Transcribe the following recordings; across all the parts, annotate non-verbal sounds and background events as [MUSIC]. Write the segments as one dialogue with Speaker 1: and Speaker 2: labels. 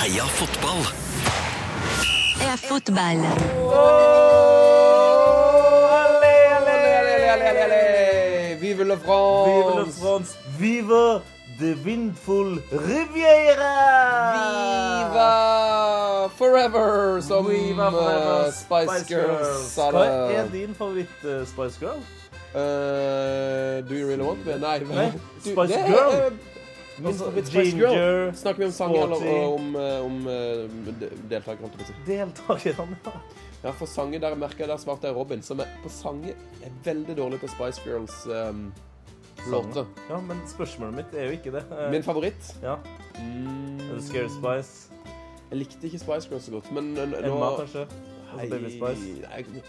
Speaker 1: Heia fotball!
Speaker 2: er fotball.
Speaker 3: Vive la France!
Speaker 4: Vive la France! Vive the windful Riviera!
Speaker 3: Viva forever, som
Speaker 4: Viva
Speaker 3: eh,
Speaker 4: forever
Speaker 3: Spice, Girls sa
Speaker 4: Hva
Speaker 3: det.
Speaker 4: er din favoritt-Spice Girl?
Speaker 3: Eh, do you really want me? Nei.
Speaker 4: Nei,
Speaker 3: Du,
Speaker 4: Spice
Speaker 3: det er,
Speaker 4: Girl.
Speaker 3: eh, min favoritt Spice Girl.
Speaker 4: Altså, Ginger,
Speaker 3: Snakker vi om sang eller
Speaker 4: sporty.
Speaker 3: om, eh, om eh, de- deltakere? holdt jeg på å si.
Speaker 4: Deltakerne.
Speaker 3: Ja, for sangen der merker jeg der svarte jeg Robin, som er på sangen er veldig dårlig på Spice Girls um, låter.
Speaker 4: Ja, men spørsmålet mitt er jo ikke det. Eh,
Speaker 3: Min favoritt
Speaker 4: Ja,
Speaker 3: mm,
Speaker 4: The Scare Spice.
Speaker 3: Jeg likte ikke Spice Girls så godt, men eh, nå
Speaker 4: Emma, kanskje.
Speaker 3: Hei,
Speaker 4: Altså Baby Spice.
Speaker 3: nei,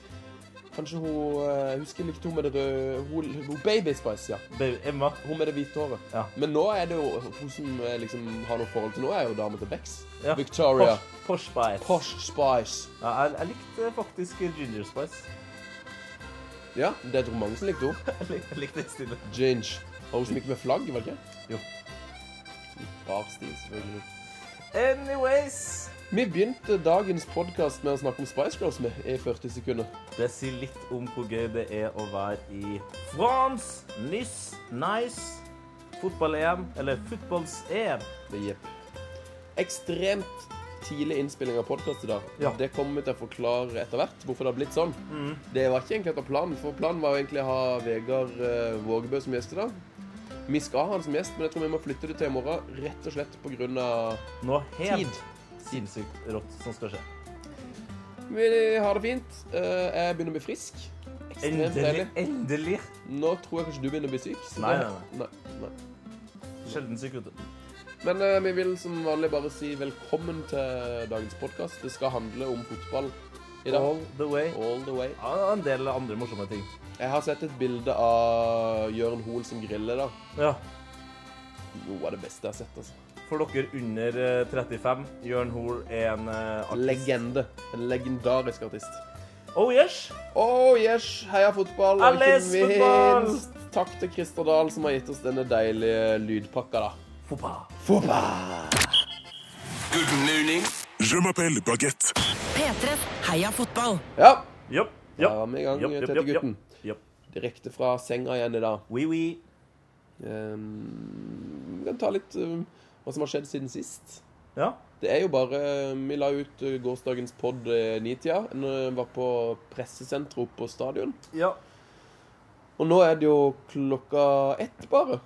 Speaker 3: Kanskje hun eh, Jeg husker jeg likte hun med det røde Hun, hun Baby Spice, ja.
Speaker 4: Baby Emma.
Speaker 3: Hun med det hvite håret.
Speaker 4: Ja.
Speaker 3: Men nå er det jo hun som jeg liksom har noe forhold til nå, er jo dama til Bex.
Speaker 4: Ja.
Speaker 3: Victoria.
Speaker 4: Posh- Posh Spice.
Speaker 3: Posh Spice.
Speaker 4: Ja, jeg, jeg likte faktisk Ginger Spice. [LAUGHS]
Speaker 3: Ja, det tror mange som likte henne.
Speaker 4: Jeg likte, jeg likte det stille.
Speaker 3: Ginge. Og hun som gikk med flagg, var det ikke?
Speaker 4: Jo.
Speaker 3: Litt rar stil, selvfølgelig.
Speaker 4: Anyways.
Speaker 3: Vi begynte dagens podkast med å snakke om Spice Girls med i 40 sekunder.
Speaker 4: Det sier litt om hvor gøy det er å være i France. Nice, nice. Fotball-EM, eller fotballs-EM.
Speaker 3: Det er Jepp. Ekstremt tidlig innspilling av podkast i dag.
Speaker 4: Ja. Mm.
Speaker 3: Det kommer vi til å forklare etter hvert, hvorfor det har blitt sånn. Det var ikke egentlig etter planen, for planen var jo egentlig å ha Vegard eh, Vågebø som gjest i dag. Vi skal ha han som gjest, men jeg tror vi må flytte det til i morgen, rett og slett pga.
Speaker 4: Noe helt
Speaker 3: tid.
Speaker 4: sinnssykt rått som skal skje.
Speaker 3: Vi har det fint. Eh, Jeg begynner å bli frisk. Ekstremt
Speaker 4: Endelig.
Speaker 3: deilig.
Speaker 4: endelig.
Speaker 3: Nå tror jeg kanskje du begynner å bli syk. så
Speaker 4: Nei,
Speaker 3: det-
Speaker 4: nei,
Speaker 3: nei, nei.
Speaker 4: Sjelden syk, vet du.
Speaker 3: Men eh, vi vil som vanlig bare si velkommen til dagens podkast. Det skal handle om fotball i dag.
Speaker 4: All the way.
Speaker 3: All the way.
Speaker 4: Ja, en del andre morsomme ting.
Speaker 3: Jeg har sett et bilde av Jørn Hoel som griller, da.
Speaker 4: Ja.
Speaker 3: Noe av det beste jeg har sett. altså.
Speaker 4: For dere under eh, 35, Jørn Hoel er en eh, artist.
Speaker 3: Legende. En legendarisk artist.
Speaker 4: Oh yes!
Speaker 3: Oh yes, heia fotball. og ikke
Speaker 4: Alles fotball!
Speaker 3: minst Takk til Christer Dahl som har gitt oss denne deilige lydpakka, da.
Speaker 4: Fotball.
Speaker 1: Good morning.
Speaker 5: Je m'appelle Baguette.
Speaker 2: P3 Heia fotball.
Speaker 3: Ja,
Speaker 4: Jopp,
Speaker 3: da
Speaker 4: jopp.
Speaker 3: var vi i gang,
Speaker 4: Jopp, jopp,
Speaker 3: Tete
Speaker 4: jopp, jopp.
Speaker 3: Gutten.
Speaker 4: Jopp.
Speaker 3: Direkte fra senga igjen i dag.
Speaker 4: Oui, oui.
Speaker 3: Ehm, Vi kan ta litt um, hva som har skjedd siden sist.
Speaker 4: Ja.
Speaker 3: Det er jo bare Vi la ut eh, gårsdagens pod eh, nitida. Når jeg var på pressesenteret oppe på stadion.
Speaker 4: ja.
Speaker 3: Og nå er det jo klokka ett, bare.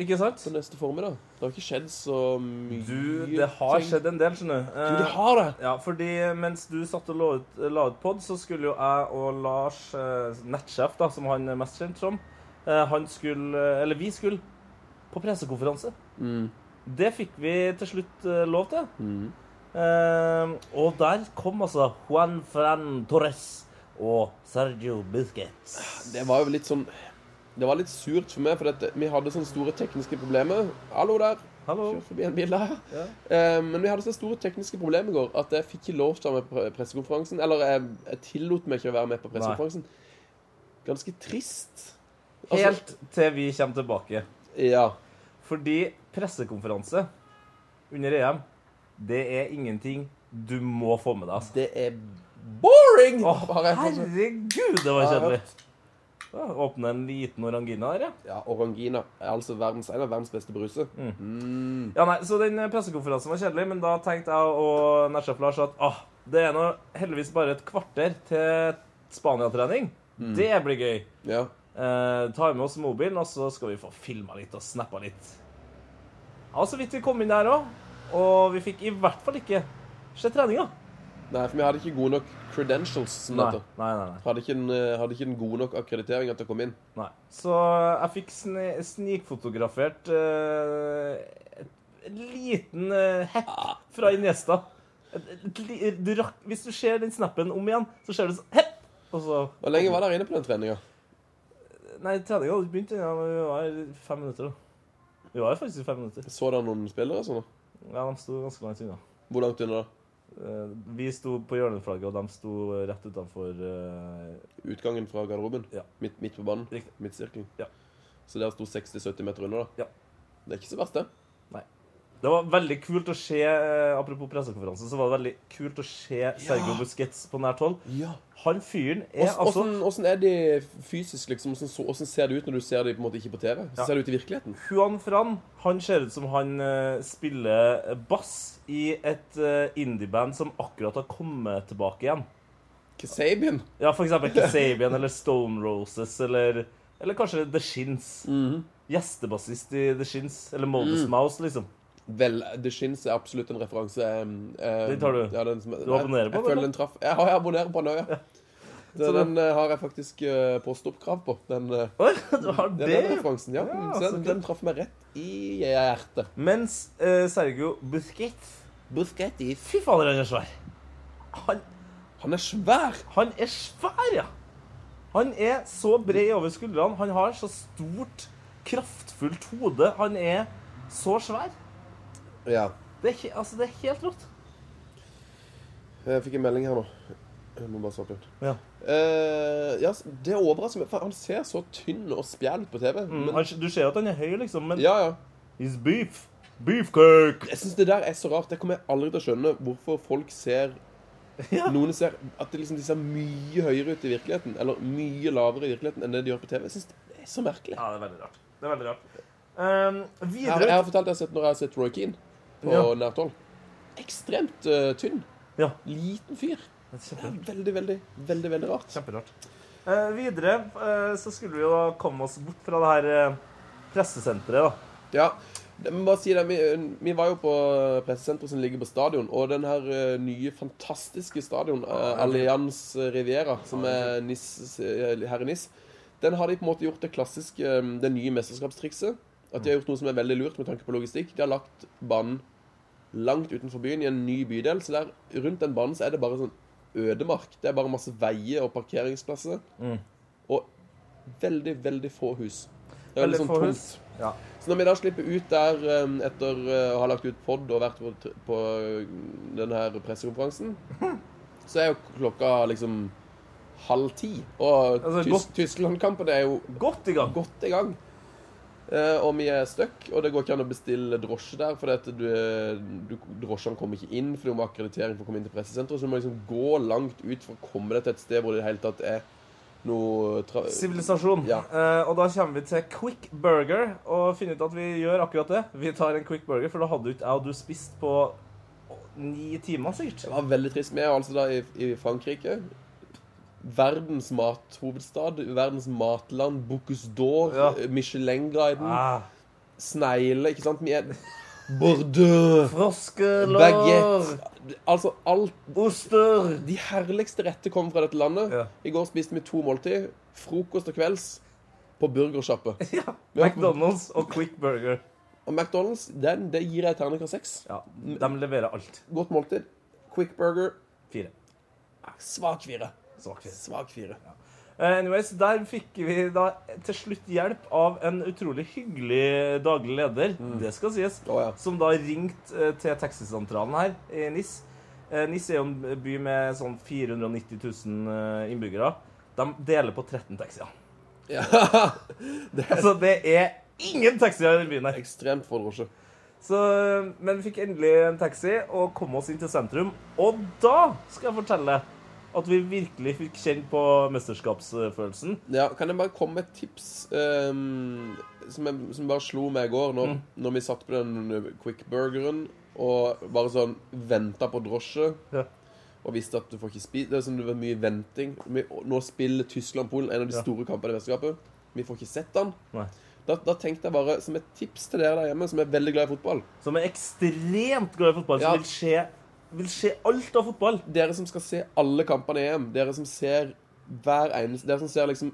Speaker 4: Ikke sant?
Speaker 3: Så neste formiddag. Det har ikke skjedd så mye
Speaker 4: Du, det har
Speaker 3: ting.
Speaker 4: skjedd en del, skjønner du.
Speaker 3: Jo,
Speaker 4: Eh,
Speaker 3: det har det.
Speaker 4: Ja, fordi mens du satt og la ut, la ut pod, så skulle jo jeg og Lars, eh, nettsjef, da, som han er mest kjent som, eh, han skulle, eh, eller vi skulle, på pressekonferanse. Mm. Det fikk vi til slutt eh, lov til. Eh, og der kom altså Juan Fran Torres og Sergio Busquets.
Speaker 3: Det var jo litt sånn Det var litt surt for meg, for at vi hadde sånne store tekniske problemer. Hallo der.
Speaker 4: Hallo.
Speaker 3: Kjør forbi en bil der. Eh, men vi hadde så store tekniske problemer i går at jeg fikk ikke lov til å være med på pre- pressekonferansen. Eller jeg, jeg tillot meg ikke å være med på pressekonferansen. Ganske trist. Altså-
Speaker 4: Helt til vi kommer tilbake.
Speaker 3: Ja.
Speaker 4: Fordi pressekonferanse under EM, det er ingenting du må få med deg. altså.
Speaker 3: Det er boring!
Speaker 4: Åh,
Speaker 3: har jeg fått-
Speaker 4: herregud, det var
Speaker 3: Ja,
Speaker 4: kjedelig. Ja, Åpne en liten orangina her, ja.
Speaker 3: Ja, Orangina er altså verdens, en av verdens beste bruser.
Speaker 4: ja nei, så den eh, pressekonferansen var kjedelig, men da tenkte jeg og Nertsjef Lars at ah, det er nå heldigvis bare et kvarter til Spania-trening. Det blir gøy.
Speaker 3: Ja.
Speaker 4: Eh, ta med oss mobilen, og så skal vi få filma litt og snappa litt. Ja, så vidt vi kom inn der òg. Og vi fikk i hvert fall ikke se treninga.
Speaker 3: Nei, for vi hadde ikke gode nok credentials. som det
Speaker 4: Nei,
Speaker 3: heter.
Speaker 4: nei, nei, nei.
Speaker 3: Hadde ikke, en, eh, hadde ikke en god nok akkreditering til å komme inn.
Speaker 4: nei. Så jeg fikk sne snikfotografert eh, et liten eh, hepp fra Iniesta. Et, et, li- du rakk, hvis du ser den snappen om igjen, så ser du sånn hepp! Og så
Speaker 3: Hvor lenge var dere inne på den treninga?
Speaker 4: Nei, treninga hadde ikke begynt ennå. men Vi var i fem minutter, da. Vi var faktisk i fem minutter.
Speaker 3: Så dere noen spillere? og sånn? da?
Speaker 4: Ja, de sto ganske langt unna.
Speaker 3: Hvor langt unna? da?
Speaker 4: Eh, Vi sto på hjørneflagget, og de sto eh, rett utenfor eh,
Speaker 3: Utgangen fra garderoben?
Speaker 4: Ja.
Speaker 3: Midt, midt på banen?
Speaker 4: Riktig.
Speaker 3: Midtsirkelen?
Speaker 4: Ja.
Speaker 3: Så dere sto 60-70 meter unna? da?
Speaker 4: Ja.
Speaker 3: Det er ikke så verst, det.
Speaker 4: Nei. Det var veldig kult å se eh, Apropos pressekonferanse, så var det veldig kult å se Sergio Busquets på nært hold.
Speaker 3: Ja.
Speaker 4: Han fyren er altså
Speaker 3: Åssen åssen er de fysisk, liksom? Åssen så- åssen ser det ut når du ser de på en måte ikke på TV? Så
Speaker 4: Ja.
Speaker 3: ser det ut i virkeligheten.
Speaker 4: Juan Fran han ser ut som han eh, spiller bass i et eh, indieband som akkurat har kommet tilbake igjen.
Speaker 3: Kasabian.
Speaker 4: Ja, for [LAUGHS] eksempel Kasabian eller Stone Roses eller, eller kanskje The Shins. Gjestebassist i The Shins. Eller Modus Mouse, liksom.
Speaker 3: Vel, The Shins er absolutt en referanse. Um,
Speaker 4: Den tar du.
Speaker 3: Ja, den, som-
Speaker 4: Du abonnerer
Speaker 3: jeg,
Speaker 4: på den,
Speaker 3: jeg føler
Speaker 4: da?
Speaker 3: den? Traff, ja, jeg abonnerer på den òg, ja. Så
Speaker 4: Så da-
Speaker 3: den eh, har jeg faktisk uh, postoppkrav på. Den, eh,
Speaker 4: [LAUGHS] Oi, du har
Speaker 3: den,
Speaker 4: det?
Speaker 3: den referansen. Ja. Mm,
Speaker 4: Ja,
Speaker 3: så
Speaker 4: så
Speaker 3: den,
Speaker 4: kult.
Speaker 3: den traff meg rett i hjertet.
Speaker 4: Mens eh, Sergio Busquets Fy fader, han er svær. Han,
Speaker 3: Han er svær!
Speaker 4: han er svær, ja! Han er så bred over skuldrene. Han har så stort, kraftfullt hode. Han er så svær.
Speaker 3: Ja.
Speaker 4: Det er, he- altså, det er helt rått.
Speaker 3: Jeg fikk en melding her nå. Jeg må bare svare på den.
Speaker 4: Ja.
Speaker 3: Eh, ja, s- det overrasker meg. for Han ser så tynn og spjæl ut på TV. Men,
Speaker 4: Mm, Han, du ser jo at han er høy, liksom, men
Speaker 3: ja, ja.
Speaker 4: He's beef. Beefcake!
Speaker 3: Jeg syns det der er så rart. Det kommer jeg aldri til å skjønne hvorfor folk ser
Speaker 4: [LAUGHS] Ja.
Speaker 3: Noen ser at det liksom, de ser mye høyere ut i virkeligheten, eller mye lavere i virkeligheten enn det de gjør på TV. Jeg syns det er så merkelig.
Speaker 4: Ja, det er veldig rart. Det er veldig rart. Um,
Speaker 3: Jeg, har- jeg
Speaker 4: videre
Speaker 3: har fortalt jeg har sett når jeg har sett Roy Keane på
Speaker 4: Ja.
Speaker 3: nært hold. Ekstremt eh, tynn.
Speaker 4: Ja.
Speaker 3: Liten fyr. Det
Speaker 4: Kjempe,
Speaker 3: er veldig, veldig, veldig veldig rart.
Speaker 4: kjemperart. Eh, videre eh, så skulle vi jo da komme oss bort fra det her eh, pressesenteret, da.
Speaker 3: Ja, det- men bare si det, vi, vi var jo på eh, pressesenteret som ligger på stadion, og den her eh, nye, fantastiske stadion, uh, Allianz Riviera, som er NIS, eh, herre NIS, den har de på en måte gjort det klassiske, eh, det nye mesterskapstrikset, at de har gjort noe som er veldig lurt med tanke på logistikk. De har lagt banen langt utenfor byen, i en ny bydel, så der, rundt den banen så er det bare sånn ødemark. Det er bare masse veier og parkeringsplasser,
Speaker 4: Mm.
Speaker 3: og veldig, veldig få hus. Det er veldig sånn
Speaker 4: få
Speaker 3: tomt.
Speaker 4: hus. Ja.
Speaker 3: Så når vi da slipper ut der eh, etter eh, å ha lagt ut pod og vært på, t- på eh, den her pressekonferansen, så er jo klokka liksom halv ti. Og
Speaker 4: Altså,
Speaker 3: Tys
Speaker 4: godt-
Speaker 3: Tyskland-kampen er jo
Speaker 4: Godt i gang.
Speaker 3: godt i gang. Eh, og vi er stuck, og det går ikke an å bestille drosje der. For du, eh, du, drosjene kommer ikke inn, for du må ha akkreditering for å komme inn til pressesenteret. Så du må liksom gå langt ut for å komme deg til et sted hvor det i det hele tatt er noe tra
Speaker 4: Sivilisasjon.
Speaker 3: Ja.
Speaker 4: Eh, og da kommer vi til Quick Burger og finner ut at vi gjør akkurat det. Vi tar en Quick Burger, for da hadde jo ikke jeg og du spist på ni timer, sikkert.
Speaker 3: Det var veldig trist. Vi er jo altså da i, i Frankrike. Verdens mathovedstad, verdens matland, Bocuse d'Or,
Speaker 4: Ja.
Speaker 3: eh, Michelin-guiden,
Speaker 4: Ah,
Speaker 3: snegle, ikke sant? Vi er Bordeaux,
Speaker 4: Froskelår,
Speaker 3: baguette Altså alt
Speaker 4: oster
Speaker 3: De herligste retter kommer fra dette landet.
Speaker 4: Ja.
Speaker 3: I går spiste vi to måltid. Frokost og kvelds på burgersjappe.
Speaker 4: Ja, McDonald's og Quick Burger.
Speaker 3: Og McDonald's, den, det gir jeg terningkast seks.
Speaker 4: Ja, De leverer alt.
Speaker 3: Godt måltid. Quick burger.
Speaker 4: Fire.
Speaker 3: Svak fire.
Speaker 4: Svak fire.
Speaker 3: Svak fire.
Speaker 4: Eh, Anyways, Der fikk vi da til slutt hjelp av en utrolig hyggelig daglig leder, det skal sies,
Speaker 3: Mm. Å, ja.
Speaker 4: som da ringte eh, til taxisentralen her i NIS. Eh, NIS er jo en by med sånn 490 000 eh, innbyggere. De deler på 13 taxier.
Speaker 3: Ja. [LAUGHS]
Speaker 4: Altså, det er ingen taxier i den byen her.
Speaker 3: Ekstremt få drosje.
Speaker 4: Så, eh, men vi fikk endelig en taxi og kom oss inn til sentrum. Og da skal jeg fortelle at vi virkelig fikk kjent på mesterskapsfølelsen.
Speaker 3: Ja, kan jeg bare komme med et tips ehm, som, jeg, som bare slo meg i går, når, når vi satt på den quick burgeren og bare sånn venta på drosje
Speaker 4: Ja.
Speaker 3: og visste at du får ikke spise Det er sånn det var mye venting. Vi- og Nå spiller Tyskland-Polen, en av de
Speaker 4: Ja.
Speaker 3: store kampene i mesterskapet. Vi får ikke sett den.
Speaker 4: Nei.
Speaker 3: Da, da tenkte jeg bare, som et tips til dere der hjemme som er veldig glad i fotball
Speaker 4: Som er ekstremt glad i fotball,
Speaker 3: Ja.
Speaker 4: som vil se, vil se alt av fotball.
Speaker 3: Dere som skal se alle kampene i EM, dere som ser hver eneste Dere som ser liksom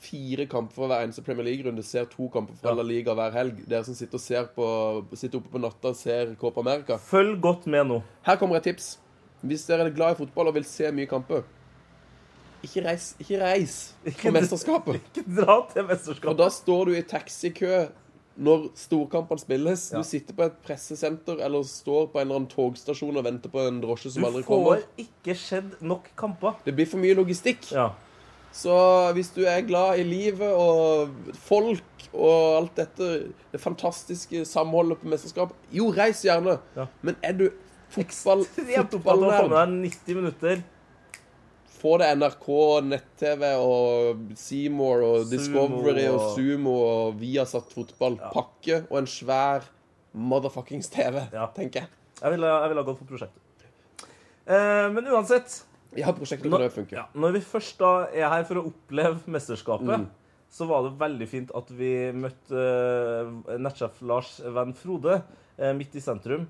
Speaker 3: fire kamper fra hver eneste Premier League-runde, ser to kamper fra
Speaker 4: Ja.
Speaker 3: La Liga hver helg, dere som sitter, og ser på, sitter oppe på natta og ser Copa America
Speaker 4: Følg godt med nå.
Speaker 3: Her kommer et tips. Hvis dere er glad i fotball og vil se mye kamper ikke reis, ikke reis
Speaker 4: Ikke
Speaker 3: på
Speaker 4: dra-
Speaker 3: mesterskapet.
Speaker 4: Ikke dra til
Speaker 3: Og
Speaker 4: mesterskapet.
Speaker 3: da står du i taxikø når storkampene spilles.
Speaker 4: Ja.
Speaker 3: Du sitter på et pressesenter eller står på en eller annen togstasjon og venter på en drosje som
Speaker 4: Du
Speaker 3: aldri kommer.
Speaker 4: får ikke skjedd nok kamper.
Speaker 3: Det blir for mye logistikk.
Speaker 4: Ja.
Speaker 3: Så hvis du er glad i livet og folk og alt dette det fantastiske samholdet på mesterskap Jo, reis gjerne,
Speaker 4: Ja.
Speaker 3: men er du fotball,
Speaker 4: [LAUGHS] Helt opptatt av å få med
Speaker 3: fotballnerd,
Speaker 4: deg 90 minutter.
Speaker 3: få deg NRK, nett-TV og Seymour og Discovery
Speaker 4: Sumo
Speaker 3: og
Speaker 4: og-
Speaker 3: Sumo og Viasat fotball.
Speaker 4: Ja.
Speaker 3: Pakke og en svær motherfuckings TV,
Speaker 4: Ja.
Speaker 3: tenker jeg.
Speaker 4: Jeg ville, jeg ville ha gått for prosjektet. Eh, men uansett
Speaker 3: Ja, prosjektet
Speaker 4: Nå-
Speaker 3: kan det funke.
Speaker 4: Ja, når vi først da er her for å oppleve mesterskapet, så var det veldig fint at vi møtte eh, nettsjef Lars Venn Frode eh, midt i sentrum.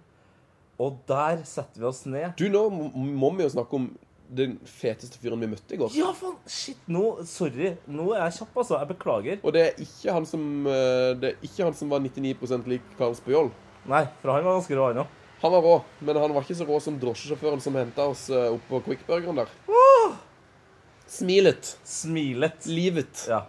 Speaker 4: Og der setter vi oss ned.
Speaker 3: Du, nå må- må vi jo snakke om den feteste fyren vi møtte i går.
Speaker 4: Ja, faen! Shit, nå Sorry. Nå er jeg kjapp, altså. Jeg beklager.
Speaker 3: Og det er ikke han som, eh, det er ikke han som var 99 lik Karls Bjål.
Speaker 4: Nei, for han var ganske rå, han òg.
Speaker 3: Han var rå, men han var ikke så rå som drosjesjåføren som henta oss eh, opp på Quickburgeren der. Smilet.
Speaker 4: Smilet.
Speaker 3: Livet.
Speaker 4: Ja.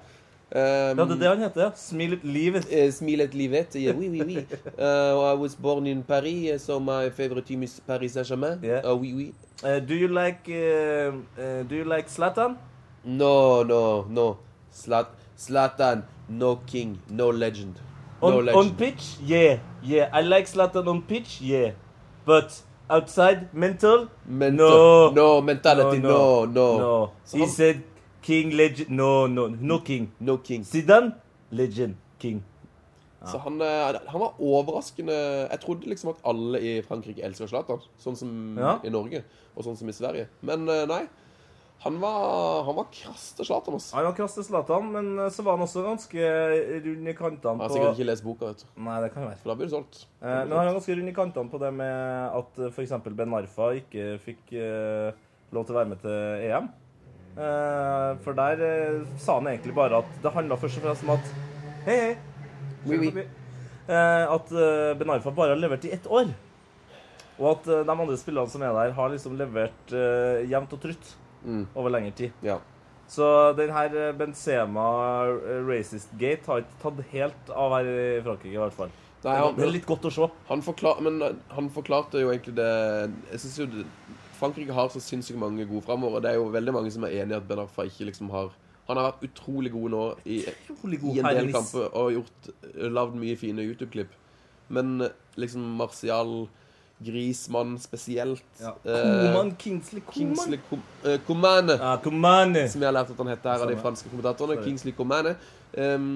Speaker 3: Um,
Speaker 4: ja, det er det han heter. ja. Smilet livet.
Speaker 3: eh, Smilet livet. Yeah, oui, oui, oui. Uh, I was born in Paris, eh, so my favorite team is Paris Saint-Germain.
Speaker 4: Yeah.
Speaker 3: Uh, oui, oui.
Speaker 4: Eh, do you like eh, eh, Do you like Zlatan?
Speaker 3: No, no, no. Slat Slatan, no king, no legend.
Speaker 4: On,
Speaker 3: No
Speaker 4: on
Speaker 3: legend.
Speaker 4: pitch, yeah, yeah. I like Zlatan on pitch, yeah. But outside, mental,
Speaker 3: Mental-
Speaker 4: No.
Speaker 3: no mentality, no, no.
Speaker 4: no.
Speaker 3: Så
Speaker 4: He
Speaker 3: han-
Speaker 4: said king legend. No, no, no king.
Speaker 3: no king.
Speaker 4: Zidane, legend, king.
Speaker 3: Så han, eh, han var overraskende Jeg trodde liksom at alle i Frankrike elsker Zlatan, sånn som
Speaker 4: Ja.
Speaker 3: i Norge og sånn som i Sverige. Men eh, nei. Han var, han var krass til Zlatan. altså. ass.
Speaker 4: Han var krass til Zlatan, men eh, så var han også ganske eh, rund i
Speaker 3: Han
Speaker 4: kantene
Speaker 3: har
Speaker 4: på
Speaker 3: sikkert ikke lest boka, vet du.
Speaker 4: Nei, det kan jo være.
Speaker 3: for da blir det solgt.
Speaker 4: Eh, Men han var ganske rund i kantene på det med at f.eks. Ben Arfa ikke fikk eh, lov til å være med til EM. Eh, for der eh, sa han egentlig bare at det handla først og fremst om at Hei, hei.
Speaker 3: Oui, oui.
Speaker 4: Eh, at eh, Ben Arfa bare har levert i ett år. Og at eh, de andre spillerne som er der, har liksom levert eh, jevnt og trutt
Speaker 3: Mm.
Speaker 4: over lengre tid.
Speaker 3: Ja.
Speaker 4: Så den her eh, Benzema eh, racist gate har ikke tatt helt av her i Frankrike, i hvert fall.
Speaker 3: Nei,
Speaker 4: det er
Speaker 3: han,
Speaker 4: litt godt å se.
Speaker 3: han, forklar, men eh, han forklarte jo egentlig det Jeg synes jo det, Frankrike har så sinnssykt mange gode framover. og Det er jo veldig mange som er enig i at Ben Arfa ikke liksom har Han har vært utrolig god nå i
Speaker 4: Utrolig
Speaker 3: i en del kamper og gjort, lagd mye fine YouTube-klipp. Men eh, liksom Martial, Grismann spesielt
Speaker 4: Ja.
Speaker 3: eh,
Speaker 4: Koman, Kingsley, Koman.
Speaker 3: Kingsley Com eh, Comane,
Speaker 4: Ja, Koman.
Speaker 3: som jeg har lært at han heter her av de
Speaker 4: Samme.
Speaker 3: franske kommentatorene.
Speaker 4: Sorry.
Speaker 3: Kingsley Comane. Ehm,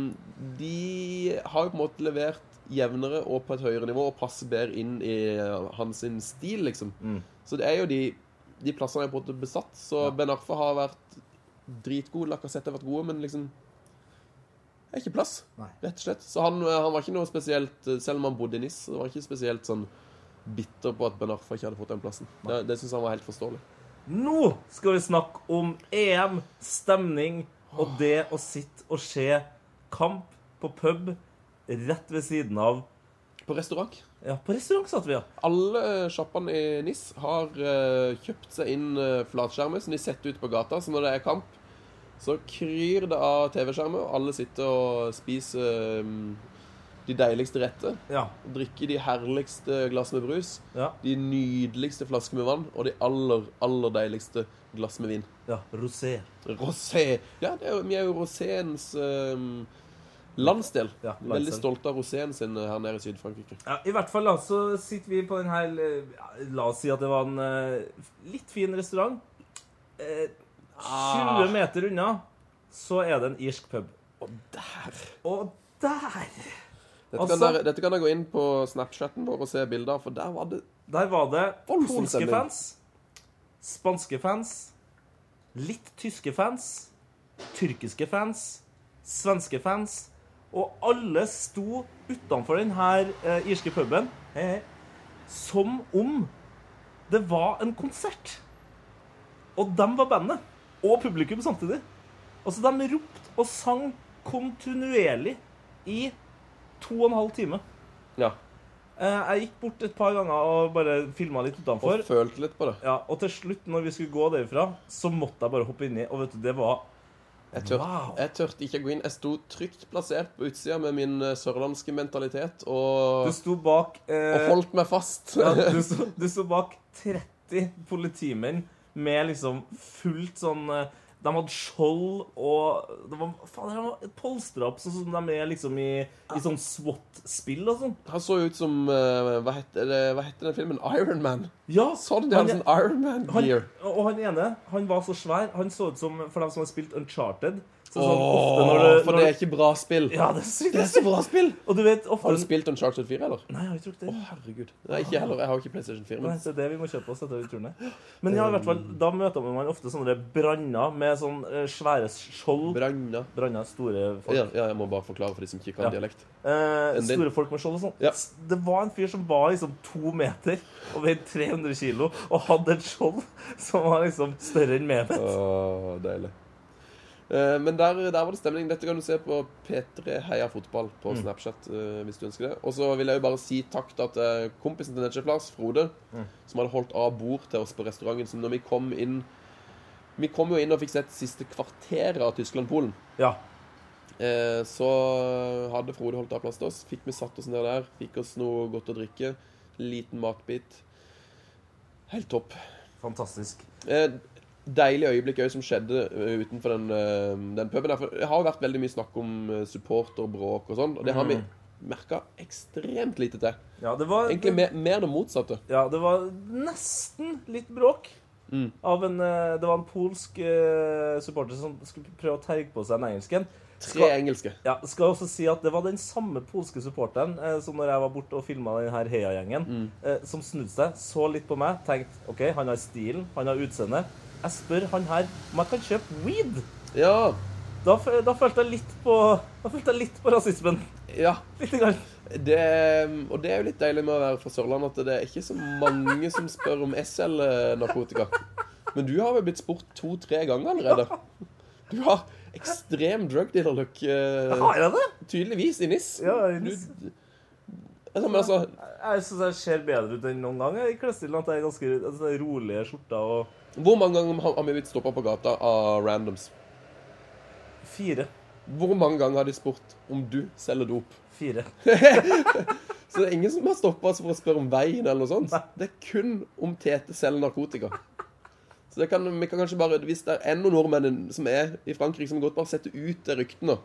Speaker 3: de har jo på en måte levert jevnere og på et høyere nivå og passer bedre inn i eh, hans sin stil, liksom.
Speaker 4: Mm.
Speaker 3: Så det er jo de, de plassene jeg på en måte besatt. Så Ben Arfa har vært dritgod. Lacassette har vært gode, men liksom Det er ikke plass,
Speaker 4: Nei.
Speaker 3: rett og slett. Så han, uh, han var ikke noe spesielt uh, Selv om han bodde i NIS, så var han ikke spesielt sånn bitter på at Ben Arfa ikke hadde fått den plassen. Det, det syns han var helt forståelig.
Speaker 4: Nå skal vi snakke om EM, stemning og det å sitte og se kamp på pub rett ved siden av
Speaker 3: På restaurant
Speaker 4: Ja, på restaurant satt vi, ja.
Speaker 3: Alle eh, sjappene i NIS har eh, kjøpt seg inn eh, flatskjermer som de setter ut på gata. Så når det er kamp, så kryr det av TV-skjermer, og alle sitter og spiser eh, de deiligste retter.
Speaker 4: Ja.
Speaker 3: drikke de herligste glass med brus,
Speaker 4: ja.
Speaker 3: de nydeligste flasker med vann og de aller, aller deiligste glass med vin.
Speaker 4: ja rosé.
Speaker 3: Rosé! Ja, det er, jo- vi er jo roséens ehm, landsdel.
Speaker 4: Ja, landsdel.
Speaker 3: Veldig stolte av roséen sin her nede i Syd-Frankrike.
Speaker 4: Ja, I hvert fall da, så sitter vi på den her eh, ja, La oss si at det var en eh, litt fin restaurant. Eh,
Speaker 3: Ah.
Speaker 4: 20 meter unna så er det en irsk pub.
Speaker 3: Og der!
Speaker 4: Og der
Speaker 3: Dette kan,
Speaker 4: Altså-
Speaker 3: dere, dette kan dere gå inn på Snapchatten vår og se bilder, for der var det
Speaker 4: Der var det
Speaker 3: Voldsom
Speaker 4: polske
Speaker 3: stemning.
Speaker 4: fans, spanske fans, litt tyske fans, tyrkiske fans, svenske fans, og alle sto utenfor den her eh, irske puben eh, som om det var en konsert. Og dem var bandet, og publikum samtidig. Altså, de ropte og sang kontinuerlig i to og en halv time.
Speaker 3: Ja.
Speaker 4: Eh, Jeg gikk bort et par ganger og bare filma litt
Speaker 3: Og
Speaker 4: utenfor.
Speaker 3: følte litt på det.
Speaker 4: Ja, og til slutt, når vi skulle gå derifra, så måtte jeg bare hoppe inni. Og vet du, det var
Speaker 3: Jeg tørte
Speaker 4: Wow.
Speaker 3: jeg tørte ikke å gå inn. Jeg sto trygt plassert på utsida med min eh, sørlandske mentalitet og,
Speaker 4: Du sto bak
Speaker 3: og
Speaker 4: eh,
Speaker 3: holdt meg fast.
Speaker 4: ja, du, sto, du sto bak 30 politimenn med liksom fullt sånn eh, De hadde skjold og det var, faen, de var polstra opp sånn som de er liksom i, i sånn SWAT-spill og sånn.
Speaker 3: [LAUGHS] Han så jo ut som eh, hva, heter det, hva heter den filmen? Iron Man.
Speaker 4: Ja,
Speaker 3: Sånn, de hadde
Speaker 4: han-
Speaker 3: sånn Iron Man-gear.
Speaker 4: han, og han ene han var så svær. Han så ut som For dem som har spilt Uncharted så sånn, ofte når
Speaker 3: Åh, for
Speaker 4: du- når
Speaker 3: det
Speaker 4: du-
Speaker 3: er ikke bra spill.
Speaker 4: Ja, det er
Speaker 3: [LAUGHS]
Speaker 4: sykt.
Speaker 3: Det er så bra spill!
Speaker 4: Og du vet ofte
Speaker 3: Har du spilt Uncharted 4, eller?
Speaker 4: Nei, jeg har ikke drukket det.
Speaker 3: Herregud. Nei, ikke heller. Jeg har ikke PlayStation 4.
Speaker 4: Nei,
Speaker 3: Men
Speaker 4: det er det vi må kjøpe oss etter turen her. Men ja, i hvert fall,
Speaker 3: Eh.
Speaker 4: da møter man ofte sånne branner med sånn eh, svære skjold.
Speaker 3: Branna
Speaker 4: Branner, store folk.
Speaker 3: ja, ja, jeg må bare forklare for de som ikke kan
Speaker 4: Ja.
Speaker 3: dialekt.
Speaker 4: Eh,
Speaker 3: En del.
Speaker 4: store folk med skjold og sånn.
Speaker 3: Ja.
Speaker 4: S- Det var en fyr som var liksom to meter og veide 300 kilo og hadde et skjold som var liksom større enn meg.
Speaker 3: Åh, deilig. Eh, Men der, der var det stemning. Dette kan du se på P3 Heia Fotball på Snapchat. eh, hvis du ønsker det. Og så vil jeg jo bare si takk til at eh, kompisen til Netsjef Lars, Frode, som hadde holdt av bord til oss på restauranten. Så når vi kom inn Vi kom jo inn og fikk sett siste kvarteret av Tyskland-Polen.
Speaker 4: Ja.
Speaker 3: Eh, Så hadde Frode holdt av plass til oss. Fikk vi satt oss ned der. Fikk oss noe godt å drikke. Liten matbit. Helt topp.
Speaker 4: Fantastisk.
Speaker 3: Eh, Deilig øyeblikk også som skjedde eh, utenfor den, eh, den puben. der, for Det har jo vært veldig mye snakk om eh, supporter, bråk og sånn. Og det har
Speaker 4: Mm.
Speaker 3: vi merka ekstremt lite til.
Speaker 4: Ja, det var
Speaker 3: Egentlig mer, mer det motsatte.
Speaker 4: Ja, det var nesten litt bråk. Av en, eh, det var en polsk eh, supporter som skulle prøve å terge på seg en engelsk en.
Speaker 3: Tre engelske.
Speaker 4: Ja, skal jeg også si at Det var den samme polske supporteren eh, som når jeg var borte og filma heiagjengen, eh, som snudde seg, så litt på meg, tenkte OK, han har stilen, han har utseendet. Jeg spør han her om jeg kan kjøpe weed.
Speaker 3: Ja.
Speaker 4: Da, fø- da følte jeg litt på Da følte jeg litt på rasismen.
Speaker 3: ja.
Speaker 4: Litt grann.
Speaker 3: Det, eh, og det er jo litt deilig med å være fra Sørlandet at det er ikke så mange som spør om jeg selger narkotika. Men du har jo blitt spurt to-tre ganger allerede. Du har ekstrem drug dealer-look, eh,
Speaker 4: Har jeg det?
Speaker 3: tydeligvis, i NIS.
Speaker 4: Ja, i
Speaker 3: Du-
Speaker 4: NIS.
Speaker 3: altså, men altså,
Speaker 4: Jeg syns jeg ser bedre ut enn noen gang jeg, i klesstilen. At jeg er ganske altså, det er rolige skjorter og
Speaker 3: hvor mange ganger har har vi blitt stoppa på gata av randoms?
Speaker 4: Fire.
Speaker 3: Hvor mange ganger har de spurt om du selger dop?
Speaker 4: Fire. [LAUGHS]
Speaker 3: Så det er ingen som har stoppa oss for å spørre om veien eller noe sånt. Det er kun om Tete selger narkotika. Så det kan, vi kan kanskje bare, Hvis det er enda nordmenn som er i Frankrike, som godt bare setter ut det ryktene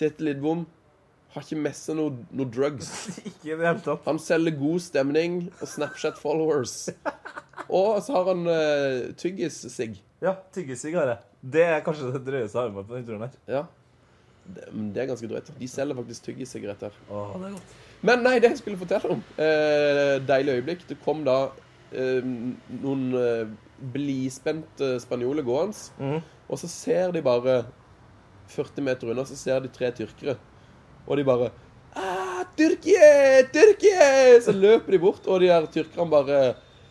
Speaker 3: Tete Lidbom har ikke med seg noe, noe drugs.
Speaker 4: Ikke i det hele tatt.
Speaker 3: Han selger god stemning og Snapchat-followers. Og så har han eh, tyggis-sigg.
Speaker 4: Ja, tyggesigg har jeg. Det er kanskje det drøyeste jeg har med på den turen her.
Speaker 3: Ja. Det, men det er ganske drøyt. De selger faktisk tyggis-sigaretter.
Speaker 4: Åh, det er godt.
Speaker 3: Men nei, det jeg skulle fortelle om eh, Deilig øyeblikk. Det kom da eh, noen eh, blidspente spanjoler gående. Og så ser de bare 40 meter unna, så ser de tre tyrkere. Og de bare «Ah, Tyrkie! Tyrkie! Så løper de bort, og de der tyrkerne bare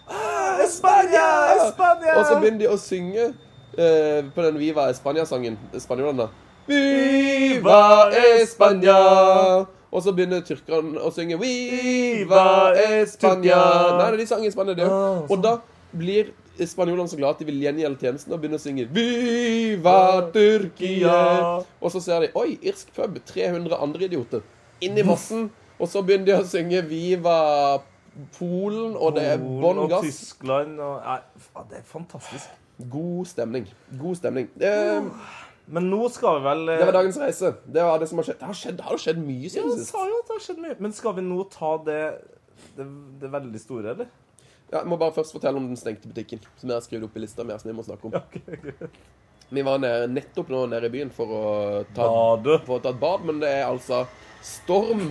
Speaker 3: «Ah, Spania!
Speaker 4: Spania!»
Speaker 3: Og så begynner de å synge eh, på den Viva Espania-sangen. Spanjolene. Viva Espania! Og så begynner tyrkerne å synge Viva Espania! Nei, nei, de sang i Spania, det
Speaker 4: Ah,
Speaker 3: òg. Og da blir spanjolene så glad at de vil gjengjelde tjenesten og begynner å synge Viva Tyrkia! Og så ser de Oi, irsk pub. 300 andre idioter. Inn i massen. Og så begynner de å synge Viva Polen, og det er bånn
Speaker 4: og
Speaker 3: gass.
Speaker 4: Tyskland og Nei, faen, det er fantastisk.
Speaker 3: God stemning. God stemning. Eh,
Speaker 4: Men nå skal vi vel eh,
Speaker 3: Det var dagens reise. Det var det som har skjedd. Det har skjedd, det har jo skjedd mye
Speaker 4: Ja,
Speaker 3: siden
Speaker 4: du
Speaker 3: sist.
Speaker 4: sa jo at det har skjedd mye. Men skal vi nå ta det det, det veldig store, eller?
Speaker 3: Ja, jeg må bare først fortelle om den stengte butikken. Som jeg har skrevet opp i lista mi. som jeg må snakke om.
Speaker 4: Ok, greit.
Speaker 3: Vi var nede, nettopp nå nede i byen for å ta,
Speaker 4: Bade.
Speaker 3: for å ta et bad, men det er altså storm.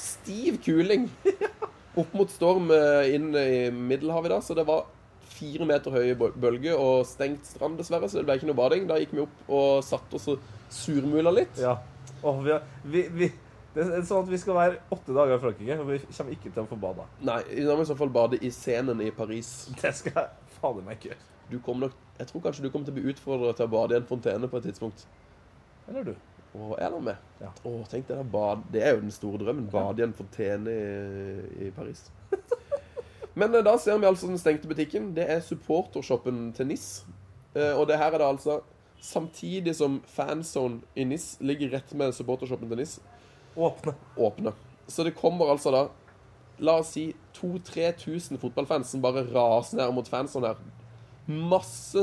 Speaker 3: Stiv
Speaker 4: [LAUGHS]
Speaker 3: kuling opp mot storm eh, inn i Middelhavet i dag. Så det var fire meter høye bøl- bølger og stengt strand, dessverre. Så det ble ikke noe bading. Da gikk vi opp og satte oss og surmula litt.
Speaker 4: Ja. Åh, vi, har, vi, vi Det er sånn at vi skal være åtte dager i Frankrike, og vi kommer ikke til å få bada.
Speaker 3: Nei, vi må i så fall bade i Seinen i Paris.
Speaker 4: Det skal jeg fader meg ikke gjøre.
Speaker 3: du kommer nok, jeg tror kanskje du kommer til å bli utfordret til å bade i en fontene på et tidspunkt.
Speaker 4: Eller du?
Speaker 3: Å, er det med?
Speaker 4: Ja.
Speaker 3: Å, tenk deg da, bad, det er jo den store drømmen. Bade i en fontene i, i Paris. [LAUGHS] Men eh, da ser vi altså den stengte butikken. Det er supportershoppen til NIS. Eh, og det her er det altså samtidig som fanzone i NIS ligger rett med supportershoppen til NIS,
Speaker 4: Åpne.
Speaker 3: åpne. Så det kommer altså da, la oss si, 2-3 tusen fotballfans som bare raser ned mot fansen sånn her. masse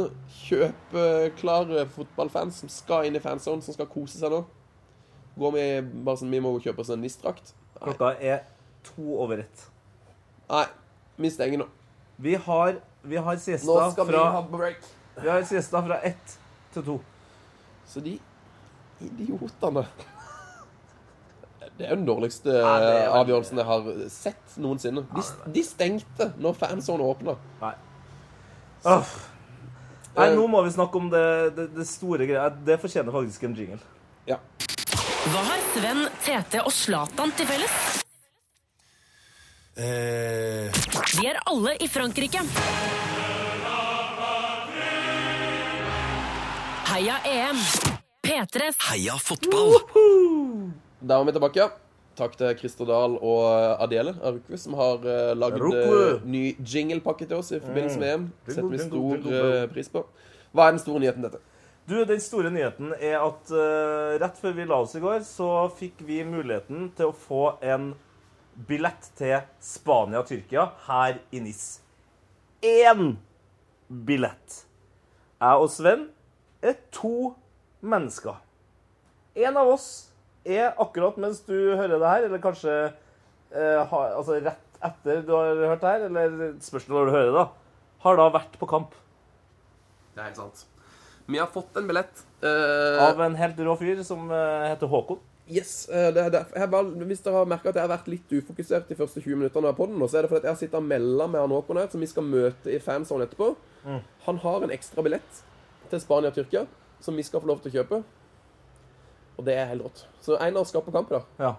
Speaker 3: kjøpeklare fotballfans som skal inn i fanzone, som skal kose seg nå. Går vi bare sånn Vi må jo kjøpe oss en NIS-drakt. Nei.
Speaker 4: Klokka er to over ett.
Speaker 3: Nei, vi stenger nå.
Speaker 4: Vi har, vi har
Speaker 3: Nå
Speaker 4: siesta
Speaker 3: skal
Speaker 4: fra,
Speaker 3: vi ha break.
Speaker 4: vi har siesta fra ett til to.
Speaker 3: Så de idiotene Det er jo den dårligste
Speaker 4: det er veldig-
Speaker 3: avgjørelsen jeg har sett noensinne. De, de stengte når fanzone åpna.
Speaker 4: Nei. Åh. Nei,
Speaker 3: Eh.
Speaker 4: nå må vi snakke om det, det, det store greia. Det fortjener faktisk en jingle.
Speaker 3: Ja.
Speaker 2: Hva har Sven, Tete og Zlatan til felles?
Speaker 1: Eh,
Speaker 2: De er alle i Frankrike. Heia E EM. P3s
Speaker 1: heia fotball!
Speaker 3: Der var vi tilbake. Takk til Christer Dahl og eh, Adele Arukve, som har eh, lagd
Speaker 4: Arukve.
Speaker 3: eh, ny jinglepakke til oss i forbindelse med EM. Setter vi
Speaker 4: Mm. Jingle, jingle,
Speaker 3: stor
Speaker 4: jingle.
Speaker 3: eh, pris på. Hva er den store nyheten, dette?
Speaker 4: Du, Den store nyheten er at eh, rett før vi la oss i går, så fikk vi muligheten til å få en billett til Spania-Tyrkia her i NIS. Én billett! Jeg og Sven er to mennesker. En av oss er akkurat mens du hører det her, eller kanskje eh, ha, altså rett etter du har hørt det her, eller spørsmålet når du hører det, da, har da vært på kamp.
Speaker 3: Det er helt sant. Vi har fått en billett. eh,
Speaker 4: Av en helt rå fyr som eh, heter Håkon.
Speaker 3: Yes, eh, det er derfor. Jeg bare, Hvis dere har merka at jeg har vært litt ufokusert de første 20 minuttene av podden, nå, så er det fordi at jeg har sittet og melda med han Håkon her, som vi skal møte i fansonen etterpå.
Speaker 4: Mm.
Speaker 3: Han har en ekstra billett til Spania og Tyrkia som vi skal få lov til å kjøpe. Og det er helt rått. Så Einar skal på kamp i dag.
Speaker 4: Ja.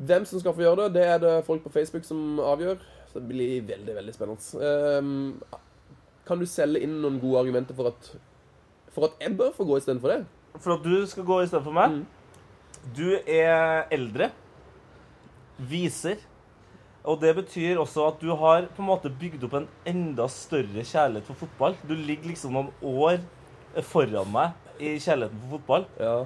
Speaker 3: Hvem som skal få gjøre det, det er det folk på Facebook som avgjør. Så det blir veldig, veldig spennende. Ehm, kan du selge inn noen gode argumenter for at, for at jeg bør få gå istedenfor det?
Speaker 4: For at du skal gå istedenfor meg. Du er eldre. Viser. Og det betyr også at du har på en måte bygd opp en enda større kjærlighet for fotball. Du ligger liksom noen år foran meg i kjærligheten for fotball.
Speaker 3: Ja.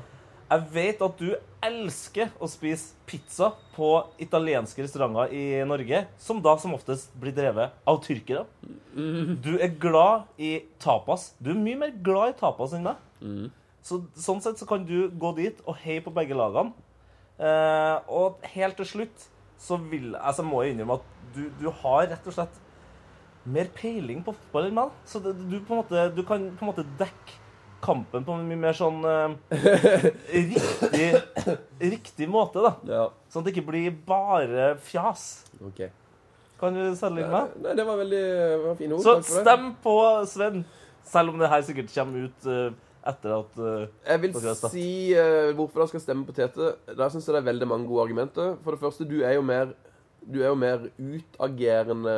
Speaker 4: Jeg vet at du elsker å spise pizza på italienske restauranter i Norge, som da som oftest blir drevet av tyrkere. Du er glad i tapas. Du er mye mer glad i tapas enn meg. Så, sånn sett så kan du gå dit og heie på begge lagene. Eh, og helt til slutt så vil, altså må jeg innrømme at du, du har rett og slett mer peiling på fotball enn meg. da. Så det, du, på en måte, du kan på en måte dekke kampen på en mye mer sånn eh, riktig, riktig måte, da.
Speaker 3: ja.
Speaker 4: Sånn at det ikke blir bare fjas.
Speaker 3: OK.
Speaker 4: Kan du selge inn meg?
Speaker 3: Nei, det var veldig det var fine ord.
Speaker 4: Så
Speaker 3: Takk for det.
Speaker 4: stem på Sven, selv om det her sikkert kommer ut eh, etter at eh,
Speaker 3: Jeg vil
Speaker 4: Takk for det, Staff.
Speaker 3: si eh, hvorfor dere skal stemme på Tete. Der syns jeg det er veldig mange gode argumenter. For det første, du er jo mer du er jo mer utagerende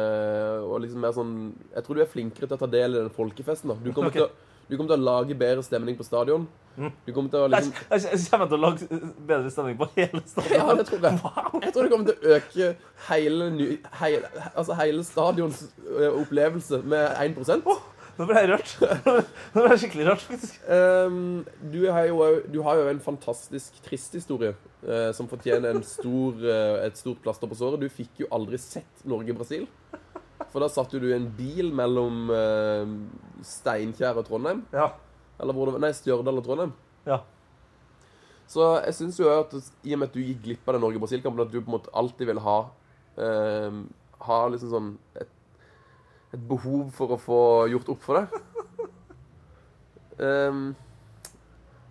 Speaker 3: og liksom mer sånn Jeg tror du er flinkere til å ta del i den folkefesten. da. Du kommer,
Speaker 4: Ok.
Speaker 3: til, å, du kommer til å lage bedre stemning på stadion. Du kommer til å
Speaker 4: Jeg,
Speaker 3: liksom
Speaker 4: jeg, jeg kommer til å lage bedre stemning på hele stedet.
Speaker 3: [LAUGHS] Ja, det tror jeg. Jeg tror det kommer til å øke hele, ny, hele, altså hele stadions eh, opplevelse med 1
Speaker 4: Nå ble jeg rørt. Nå ble jeg skikkelig rørt, faktisk.
Speaker 3: Ehm, du, har jo, du har jo en fantastisk trist historie eh, som fortjener en stor, eh, et stort plaster på såret. Du fikk jo aldri sett Norge-Brasil. For da satt jo du i en bil mellom eh, Steinkjer og Trondheim.
Speaker 4: Ja.
Speaker 3: Eller hvor det var, nei, Stjørdal og Trondheim.
Speaker 4: ja.
Speaker 3: Så jeg syns jo at i og med at du gikk glipp av den Norge-Brasil-kampen, at du på en måte alltid vil ha ehm, Ha liksom sånn et, et behov for å få gjort opp for det. Ehm,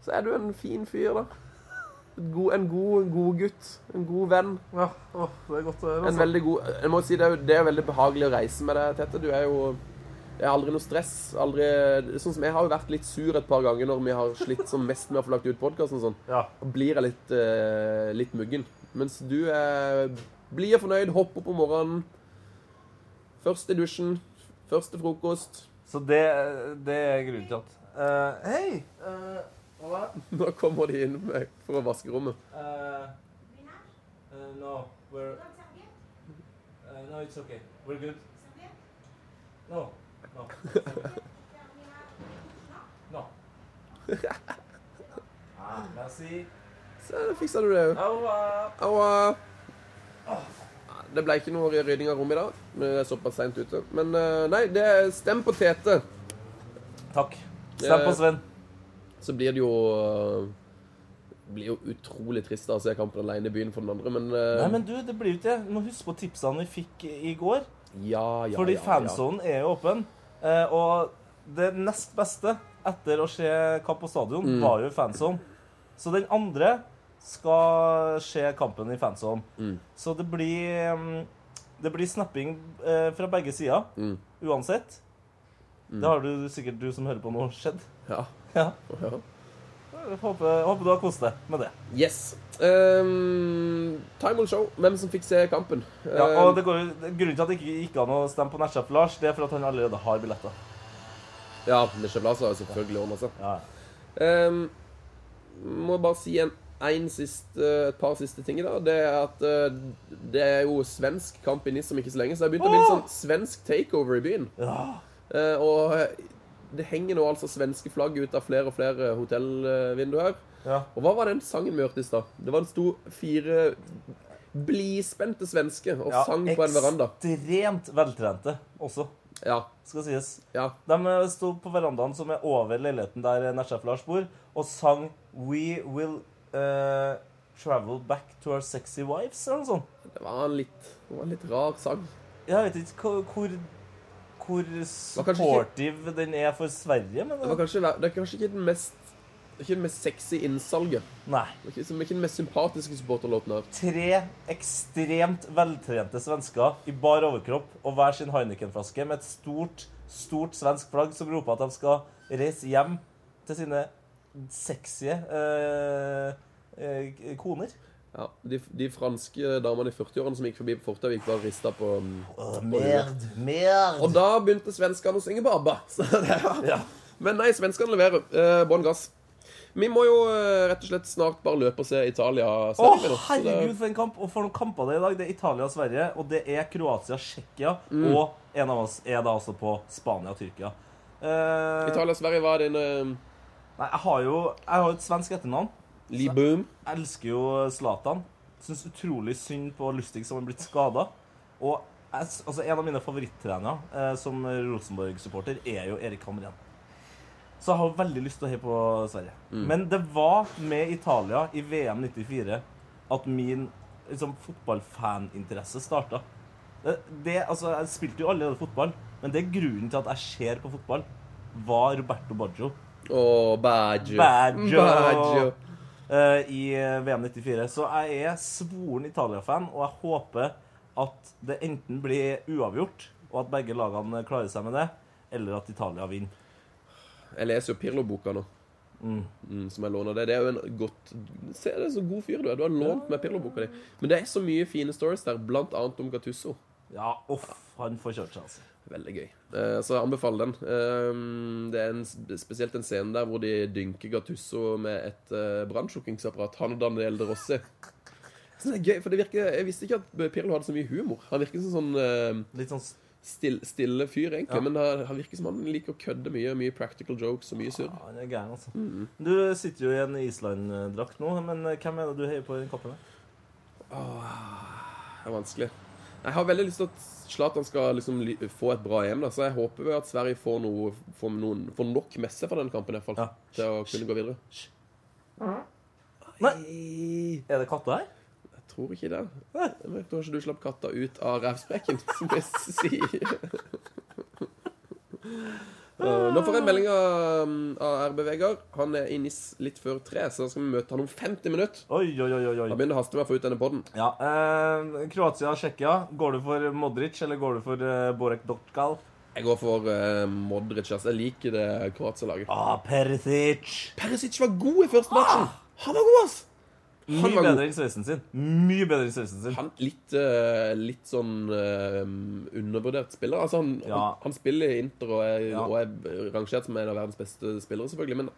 Speaker 3: så er du en fin fyr, da. Et god, en god, en god gutt. En god venn.
Speaker 4: ja. Åh, det er godt å høre.
Speaker 3: En
Speaker 4: Altså.
Speaker 3: veldig god Jeg må jo si det er, jo- det er jo veldig behagelig å reise med deg, Tete. Du er jo Det er aldri noe stress. Aldri Sånn som jeg har jo vært litt sur et par ganger når vi har slitt som mest med å få lagt ut podkasten og sånn.
Speaker 4: Ja.
Speaker 3: Da blir jeg litt, eh, litt muggen. Mens du er blid og fornøyd, hopper opp om morgenen. Først i dusjen, først til frokost. [LAUGHS]
Speaker 4: Så det, det er grunnen til at Eh, Hei! eh, hola.
Speaker 3: Nå kommer de inn med- for å vaske rommet.
Speaker 4: Eh, eh, no, we're eh, No, it's okay. We're good. No. No. No. Ah, merci.
Speaker 3: Så da fiksa du det.
Speaker 4: Au revoir.
Speaker 3: Au. Ah, Det ble ikke noe rydding av rommet i dag. men Det er såpass seint ute. Men eh, nei, det er stem på Tete.
Speaker 4: Takk. Stem på Sven.
Speaker 3: Så blir det jo eh, blir jo utrolig trist da, å se kampen alene i byen for den andre, men, eh,
Speaker 4: Nei, men du, det blir jo ikke det. Du må huske på tipsene vi fikk i går.
Speaker 3: ja, ja,
Speaker 4: Fordi
Speaker 3: ja, ja.
Speaker 4: fansonen er jo åpen. eh, Og det nest beste etter å se kamp på stadion, var jo fansonen. Så den andre skal skje kampen i fansonen. Så det blir mm, Det blir snapping eh, fra begge sider
Speaker 3: Mm.
Speaker 4: uansett. Det har du sikkert, du som hører på nå, skjedd. [LAUGHS]
Speaker 3: Ja. [LAUGHS]
Speaker 4: Ja.
Speaker 3: ja.
Speaker 4: Jeg Håper, jeg håper du har kost deg med det.
Speaker 3: Yes. Ehm, time will show hvem som fikk se kampen.
Speaker 4: Ja,
Speaker 3: Ehm,
Speaker 4: og det går, jo- Grunnen til at det ikke gikk an å stemme på Nertsjef Lars, det er for at han allerede har billetter.
Speaker 3: ja, Nesje Blas har jo selvfølgelig ordna seg.
Speaker 4: Ja.
Speaker 3: Ehm, må bare si en, en siste, et par siste ting. da Det er at eh, det er jo svensk kamp i NIS om ikke så lenge, så det har begynt å bli litt sånn svensk takeover i byen.
Speaker 4: Ja.
Speaker 3: Eh, og det henger nå altså svenske flagg ut av flere og flere hotellvinduer her.
Speaker 4: ja.
Speaker 3: Og hva var den sangen vi hørte i stad? Det var det sto fire blispente svenske og sang på en veranda.
Speaker 4: Ekstremt veltrente også,
Speaker 3: Ja,
Speaker 4: skal sies.
Speaker 3: ja.
Speaker 4: De eh, sto på verandaen som er over leiligheten der Nesjef Lars bor, og sang We Will eh, Travel Back to Our Sexy Wives, eller noe sånt.
Speaker 3: Det var en litt, det var en litt rar sang.
Speaker 4: Jeg vet ikke hva- hvor, hvor
Speaker 3: kanskje ikke-
Speaker 4: supportive den er for Sverige, men
Speaker 3: Det, var kanskje, det er kanskje ikke den mest det er ikke den mest sexy innsalget.
Speaker 4: Nei.
Speaker 3: Det er ikke, som er ikke den mest sympatiske supporterlåten her.
Speaker 4: Tre ekstremt veltrente svensker i bar overkropp og hver sin Heineken-flaske med et stort, stort svensk flagg som roper at de skal reise hjem til sine sexy eh, eh, koner.
Speaker 3: Ja, de, de franske damene i 40-årene som gikk forbi på fortauet, gikk bare og rista på um,
Speaker 4: Merd, merd.
Speaker 3: Og da begynte svenskene å synge på ABBA. [LAUGHS] Så det var...
Speaker 4: Ja.
Speaker 3: Men nei, svenskene leverer. Eh, Bånn gass. Vi må jo eh, rett og slett snart bare løpe og se Italia.
Speaker 4: Å, herregud, for en kamp! Og for noen kamper det er i dag. Det er Italia og Sverige, og det er Kroatia, Tsjekkia, og en av oss er da altså på Spania og Tyrkia. Eh,
Speaker 3: Italia-Sverige var din uh,
Speaker 4: nei, jeg har jo jeg har jo et svensk etternavn.
Speaker 3: Liboom.
Speaker 4: Jeg elsker jo Zlatan. Syns utrolig synd på Lustig som er blitt skada. Og jeg, s- altså, en av mine favorittrenere eh, som Rosenborg-supporter er jo Erik Hamren. Så jeg har veldig lyst til å heie på Sverige. Men det var med Italia i VM 94 at min liksom, fotballfaninteresse starta. Det, det, altså, jeg spilte jo allerede fotball, men det er grunnen til at jeg ser på fotball, var Roberto Baggio
Speaker 3: Og Baggio.
Speaker 4: Baggio.
Speaker 3: Baggio.
Speaker 4: eh, i VM 94. Så jeg er svoren Italia-fan, og jeg håper at det enten blir uavgjort, og at begge lagene klarer seg med det, eller at Italia vinner.
Speaker 3: Jeg leser jo Pirlo-boka nå. Mm, som jeg låner det. Det er jo en godt Se, det er så god fyr du er. Du har lånt meg Pirlo-boka di. Men det er så mye fine stories der, blant annet om Gattusso.
Speaker 4: Ja, uff, han får kjørt seg, altså.
Speaker 3: Veldig gøy. Eh, så jeg anbefaler den. Eh, det er en, sp- spesielt en scene der hvor de dynker Gattusso med et uh, brannslukkingsapparat. Han og Daniel De Rossi. Så det er gøy, for det virker, Jeg visste ikke at Pirlo hadde så mye humor. Han virker som sånn eh,
Speaker 4: Litt sånn s-
Speaker 3: still, stille fyr, egentlig.
Speaker 4: Ja.
Speaker 3: Men han, han virker som han liker å kødde mye. Mye practical jokes og mye surr.
Speaker 4: ja, Han er gæren, altså. Du sitter jo i en Island-drakt nå, men eh, hvem er det du heier på i den kampen? her?
Speaker 3: Det er vanskelig. Jeg har veldig lyst til at Zlatan skal liksom li- få et bra EM, da, så jeg håper jo at Sverige får, noe, får, noen, får nok messe fra den kampen i hvert fall,
Speaker 4: Ja.
Speaker 3: til å kunne gå videre.
Speaker 4: Nei.
Speaker 3: Nei.
Speaker 4: Er det katter her?
Speaker 3: Jeg tror ikke det. Jeg vet ikke du slapp katta ut av revsprekken, [LAUGHS] som jeg sier. Uh, Nå får jeg melding av, mm, av RB Vegard. Han er i NIS litt før tre, så da skal vi møte han om 50 minutter.
Speaker 4: Oi, oi, oi, oi, oi.
Speaker 3: Da begynner det å haste med å få ut denne podden.
Speaker 4: Ja, eh, Kroatia og Tsjekkia. Går du for Modric, eller går du for eh, Borek Dotkal?
Speaker 3: Jeg går for eh, Modric. Altså. Jeg liker det Kroatia-laget.
Speaker 4: Ah, Perisic!
Speaker 3: Perisic var god i første matchen. Han var god, ass!
Speaker 4: Ah! Mye
Speaker 3: var god.
Speaker 4: bedre enn sveisen sin. Mye bedre enn sveisen sin.
Speaker 3: Han litt, eh, litt sånn eh, undervurdert spiller. Altså, han,
Speaker 4: Ja.
Speaker 3: han, han spiller i Inter og er,
Speaker 4: Ja.
Speaker 3: og er rangert som en av verdens beste spillere, selvfølgelig. Men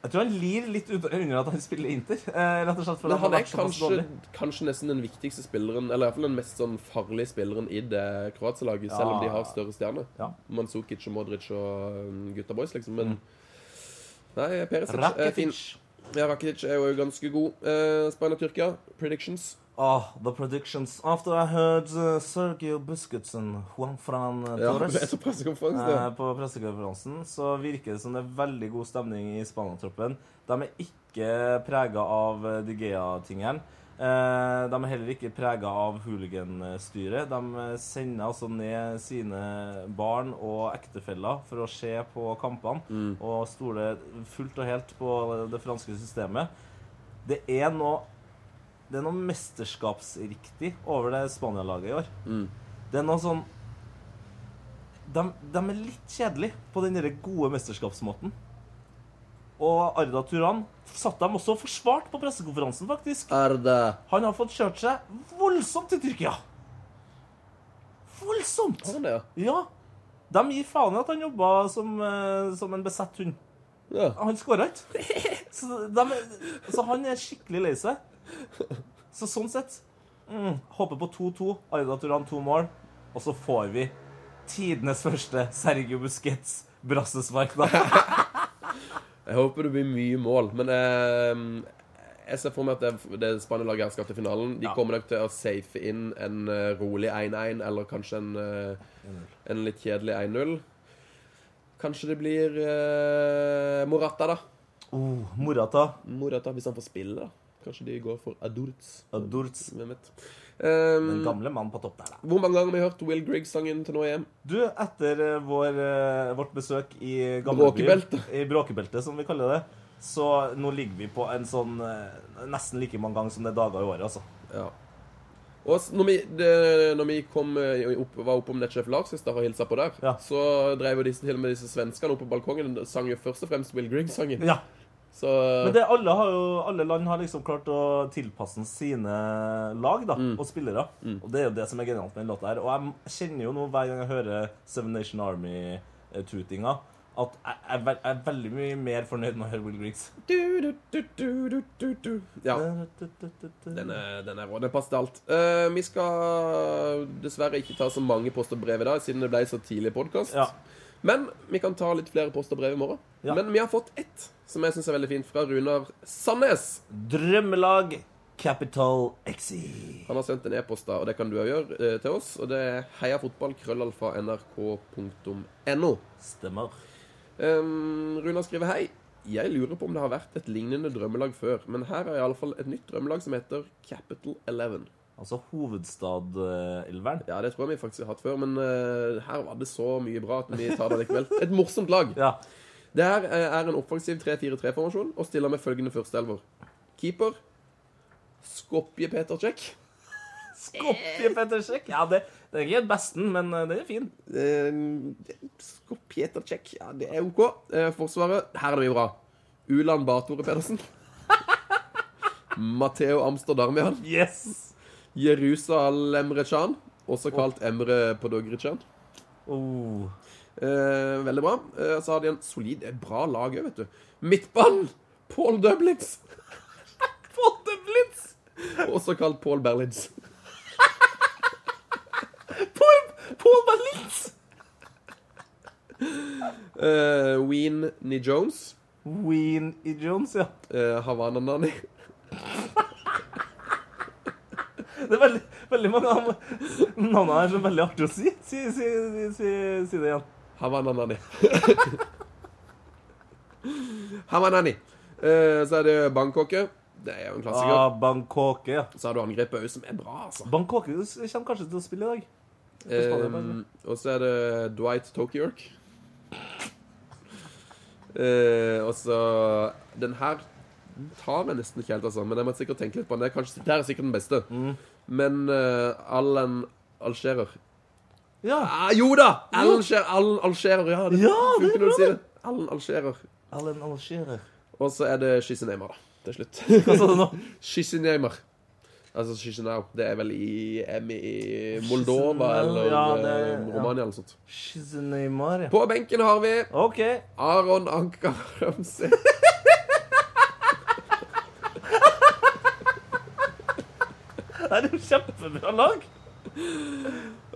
Speaker 4: Jeg tror han lir litt ut- under at han spiller Inter. Eh, rett og slett fordi
Speaker 3: Men han
Speaker 4: har
Speaker 3: er
Speaker 4: vært såpass
Speaker 3: kanskje,
Speaker 4: dårlig.
Speaker 3: kanskje nesten den viktigste spilleren, eller iallfall den mest sånn farlige spilleren i det Kroatia-laget, selv om de har større stjerner.
Speaker 4: Ja. Mm.
Speaker 3: Manzukic og Modric og um, gutta boys, liksom. Men Nei, Perisic er fin.
Speaker 4: Rakitic.
Speaker 3: Ja, Rakitic er jo ganske god. Eh, Spania-Tyrkia, predictions.
Speaker 4: Ah, the predictions. After I heard uh, Sergio Busquetsen, Juan Fran
Speaker 3: Ja,
Speaker 4: Torres
Speaker 3: det er så pressekonferanse,
Speaker 4: eh,
Speaker 3: det.
Speaker 4: på pressekonferansen, så virker det som det er veldig god stemning i Spania-troppen. De er ikke prega av eh, De Gea-tingene. Eh, de er heller ikke prega av hooliganstyret. De eh, sender altså ned sine barn og ektefeller for å se på kampene, og stoler fullt og helt på det franske systemet. Det er noe det er noe mesterskapsriktig over det Spania-laget i år. Det er noe sånn de, de er litt kjedelige på den der gode mesterskapsmåten. Og Arda Turan satt dem også og forsvart på pressekonferansen, faktisk.
Speaker 3: Er det
Speaker 4: Han har fått kjørt seg voldsomt til Tyrkia. Voldsomt!
Speaker 3: Har han det, ja?
Speaker 4: Ja. De gir faen i at han jobba som, eh, som en besett hund.
Speaker 3: ja.
Speaker 4: Han skåra ikke. Så, de, så han er skikkelig lei seg. Så sånn sett mm, Håper på 2-2. Arda Turan to mål. Og så får vi tidenes første Sergio Busquets brassespark. da.
Speaker 3: Jeg håper det blir mye mål, men eh, jeg ser for meg at det, det Spania-laget her skal til finalen. De
Speaker 4: Ja.
Speaker 3: kommer nok til å safe inn en eh, rolig 1-1, eller kanskje en, eh, en litt kjedelig 1-0. Kanskje det blir eh, Morata, da.
Speaker 4: Oh, Morata.
Speaker 3: Morata, Hvis han får spille, da. Kanskje de går for Adurz.
Speaker 4: Adurz.
Speaker 3: Hvem vet.
Speaker 4: Den
Speaker 3: Eh,
Speaker 4: gamle mannen på topp der, da.
Speaker 3: hvor mange ganger har vi hørt Will Griggs-sangen til nå i EM?
Speaker 4: Du, etter eh, vår, eh, vårt besøk i gamlebyen,
Speaker 3: Bråkebeltet.
Speaker 4: i Bråkebeltet, som vi kaller det, så nå ligger vi på en sånn eh, nesten like mange ganger som det er dager i året, altså.
Speaker 3: Ja. Og s- når vi, det, når vi kom, eh, opp, var oppe om Netchef Lars sist da, og hilsa på der,
Speaker 4: Ja.
Speaker 3: så drev jo disse, til og med disse svenskene oppe på balkongen og sang jo først og fremst Will Griggs-sangen.
Speaker 4: Ja.
Speaker 3: Så
Speaker 4: Men det, alle, har jo, alle land har liksom klart å tilpasse sine lag da, og spillere. Og det er jo det som er genialt med den låta her. Og jeg kjenner jo nå hver gang jeg hører Seven Nation Army-tutinga, at jeg jeg er, vel- jeg er veldig mye mer fornøyd med å høre Will Griggs.
Speaker 3: du, du, du, du, du, du, du. Ja. Den er, den er rå. Den passer til alt. Eh, vi skal dessverre ikke ta så mange post og brev i dag, siden det ble så tidlig podkast.
Speaker 4: Ja.
Speaker 3: Men vi kan ta litt flere post og brev i morgen.
Speaker 4: Ja.
Speaker 3: Men vi har fått ett som jeg syns er veldig fint, fra Runar Sandnes.
Speaker 4: Drømmelag Capital XE.
Speaker 3: Han har sendt en e-post, da, og det kan du òg gjøre eh, til oss. Og det er heiafotballkrøllalfa.nrk.no.
Speaker 4: Stemmer.
Speaker 3: Um, Runa skriver hei. Jeg lurer på om det har vært et lignende drømmelag før, men her er iallfall et nytt drømmelag som heter Capital Eleven.
Speaker 4: Altså hovedstad-elveren.
Speaker 3: Ja, det tror jeg vi faktisk har hatt før, men eh, her var det så mye bra at vi tar det likevel. Et morsomt lag.
Speaker 4: Ja.
Speaker 3: Det her eh, er en offensiv 3-4-3-formasjon og stiller med følgende førsteelver. Keeper Skopje Peter Cech.
Speaker 4: Skopje Pettersek. Ja, det, det er ikke helt besten, men eh, den er fin.
Speaker 3: Eh, Skopjeter check. Ja, det er OK. Eh, forsvaret, her er det mye bra. Ulan Bartore Pedersen. [LAUGHS] Matheo Amsterdamian.
Speaker 4: Yes!
Speaker 3: Jerusalem Rechan, også kalt Emre Podogrechan.
Speaker 4: Oh.
Speaker 3: Eh, veldig bra. Eh, så har de en solid, eh, bra lag òg, vet du. Midtbanen, Paul Dublitz. [LAUGHS]
Speaker 4: Potteblitz!
Speaker 3: Også kalt Paul Berlitz. [LAUGHS]
Speaker 4: Paul, Paul Berlitz!
Speaker 3: Eh, Ween Ni Jones.
Speaker 4: Ween i Jones, ja.
Speaker 3: Eh, Havana Nani.
Speaker 4: Det er veldig, veldig mange av navnene her som er veldig artig å si. Si, si, si, si, si det igjen.
Speaker 3: Havana Nani. [LAUGHS] Havana Nani. Eh, så er det Bangkoke. Det er jo en klassiker.
Speaker 4: Ah, Bangkok, ja.
Speaker 3: Så har du angrepet òg, som er bra, altså.
Speaker 4: Bangkok du s- kommer kanskje til å spille i dag. Spania,
Speaker 3: Eh, og så er det Dwight Tokyerk. Eh, og så Den her tar meg nesten ikke helt, altså. Men jeg må sikkert tenke litt på den. Det er kanskje, det her er sikkert den beste.
Speaker 4: Mm.
Speaker 3: Men eh, Allen Algerer
Speaker 4: Ja.
Speaker 3: ah, Jo da! Allen Alger- Allen Algerer, ja. Det
Speaker 4: Ja, det
Speaker 3: funker når
Speaker 4: er bra,
Speaker 3: du sier det. Allen Algerer.
Speaker 4: Alan Algerer.
Speaker 3: Og så er det Schyssenheimer, da. Til slutt.
Speaker 4: [LAUGHS] Hva sa du nå?
Speaker 3: Schyssenheimer. Altså Chisinau. Det er vel i, er vi i Moldova
Speaker 4: Chisinau,
Speaker 3: eller
Speaker 4: ja, det-
Speaker 3: eh,
Speaker 4: ja.
Speaker 3: Romania eller noe sånt.
Speaker 4: Shizuneymar, ja.
Speaker 3: På benken har vi
Speaker 4: OK.
Speaker 3: Aron Anker
Speaker 4: [LAUGHS]
Speaker 3: Ramsey.
Speaker 4: Det er jo kjempebra lag.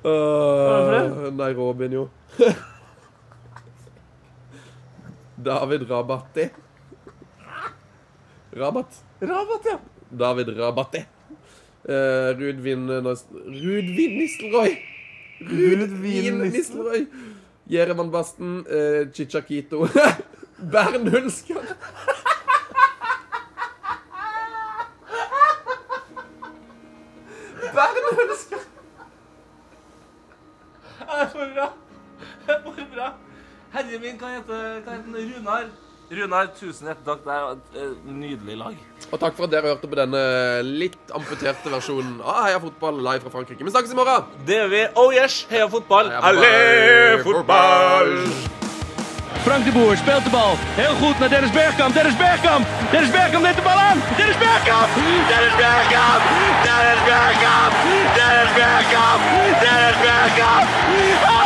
Speaker 3: Uh, nei, Robin, jo. [LAUGHS] David Rabatti. Rabat.
Speaker 4: Rabat, ja.
Speaker 3: David Rabatti. Eh, Rudvin Nas- Rudvin Nistelrooy!
Speaker 4: Rudvin
Speaker 3: Rudvin
Speaker 4: Nistelrooy.
Speaker 3: Nistelrooy. Jerevan Basten, eh, [LAUGHS] Chichakito Bernd Hulsker.
Speaker 4: Bernd Hulsker. Det er for bra. Det er for bra. Herre min, hva heter, hva heter den? Runar? Runar, tusen hjertelig takk. Det er jo et eh, nydelig lag.
Speaker 3: Og takk for at dere hørte på denne litt amputerte versjonen av Heia fotball live fra Frankrike. Vi snakkes i morgen!
Speaker 4: Det er vi. Oh yes, heia fotball!
Speaker 3: Heia fotball.
Speaker 4: Allé, fotball!
Speaker 1: Frank de Boer speelt de bal. Heel goed naar Dennis Bergkamp. Dennis Bergkamp. Dennis Bergkamp neemt de bal aan. Dennis Bergkamp. Dennis Bergkamp. Dennis Bergkamp. Dennis Bergkamp. Dennis Bergkamp. Oh!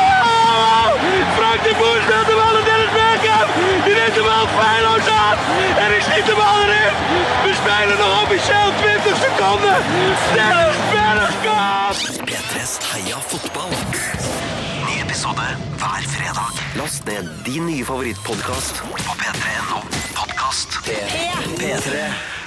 Speaker 1: Frank de Boer speelt de bal naar Dennis Bergkamp. Die neemt de bal feilloos aan. En is niet de bal erin. We spelen nog officieel 20 seconden. Dennis Bergkamp.
Speaker 5: P3s Heia fotball. Ny episode hver fredag. Last ned din nye favorittpodkast på p3.no podkast. P3. P3.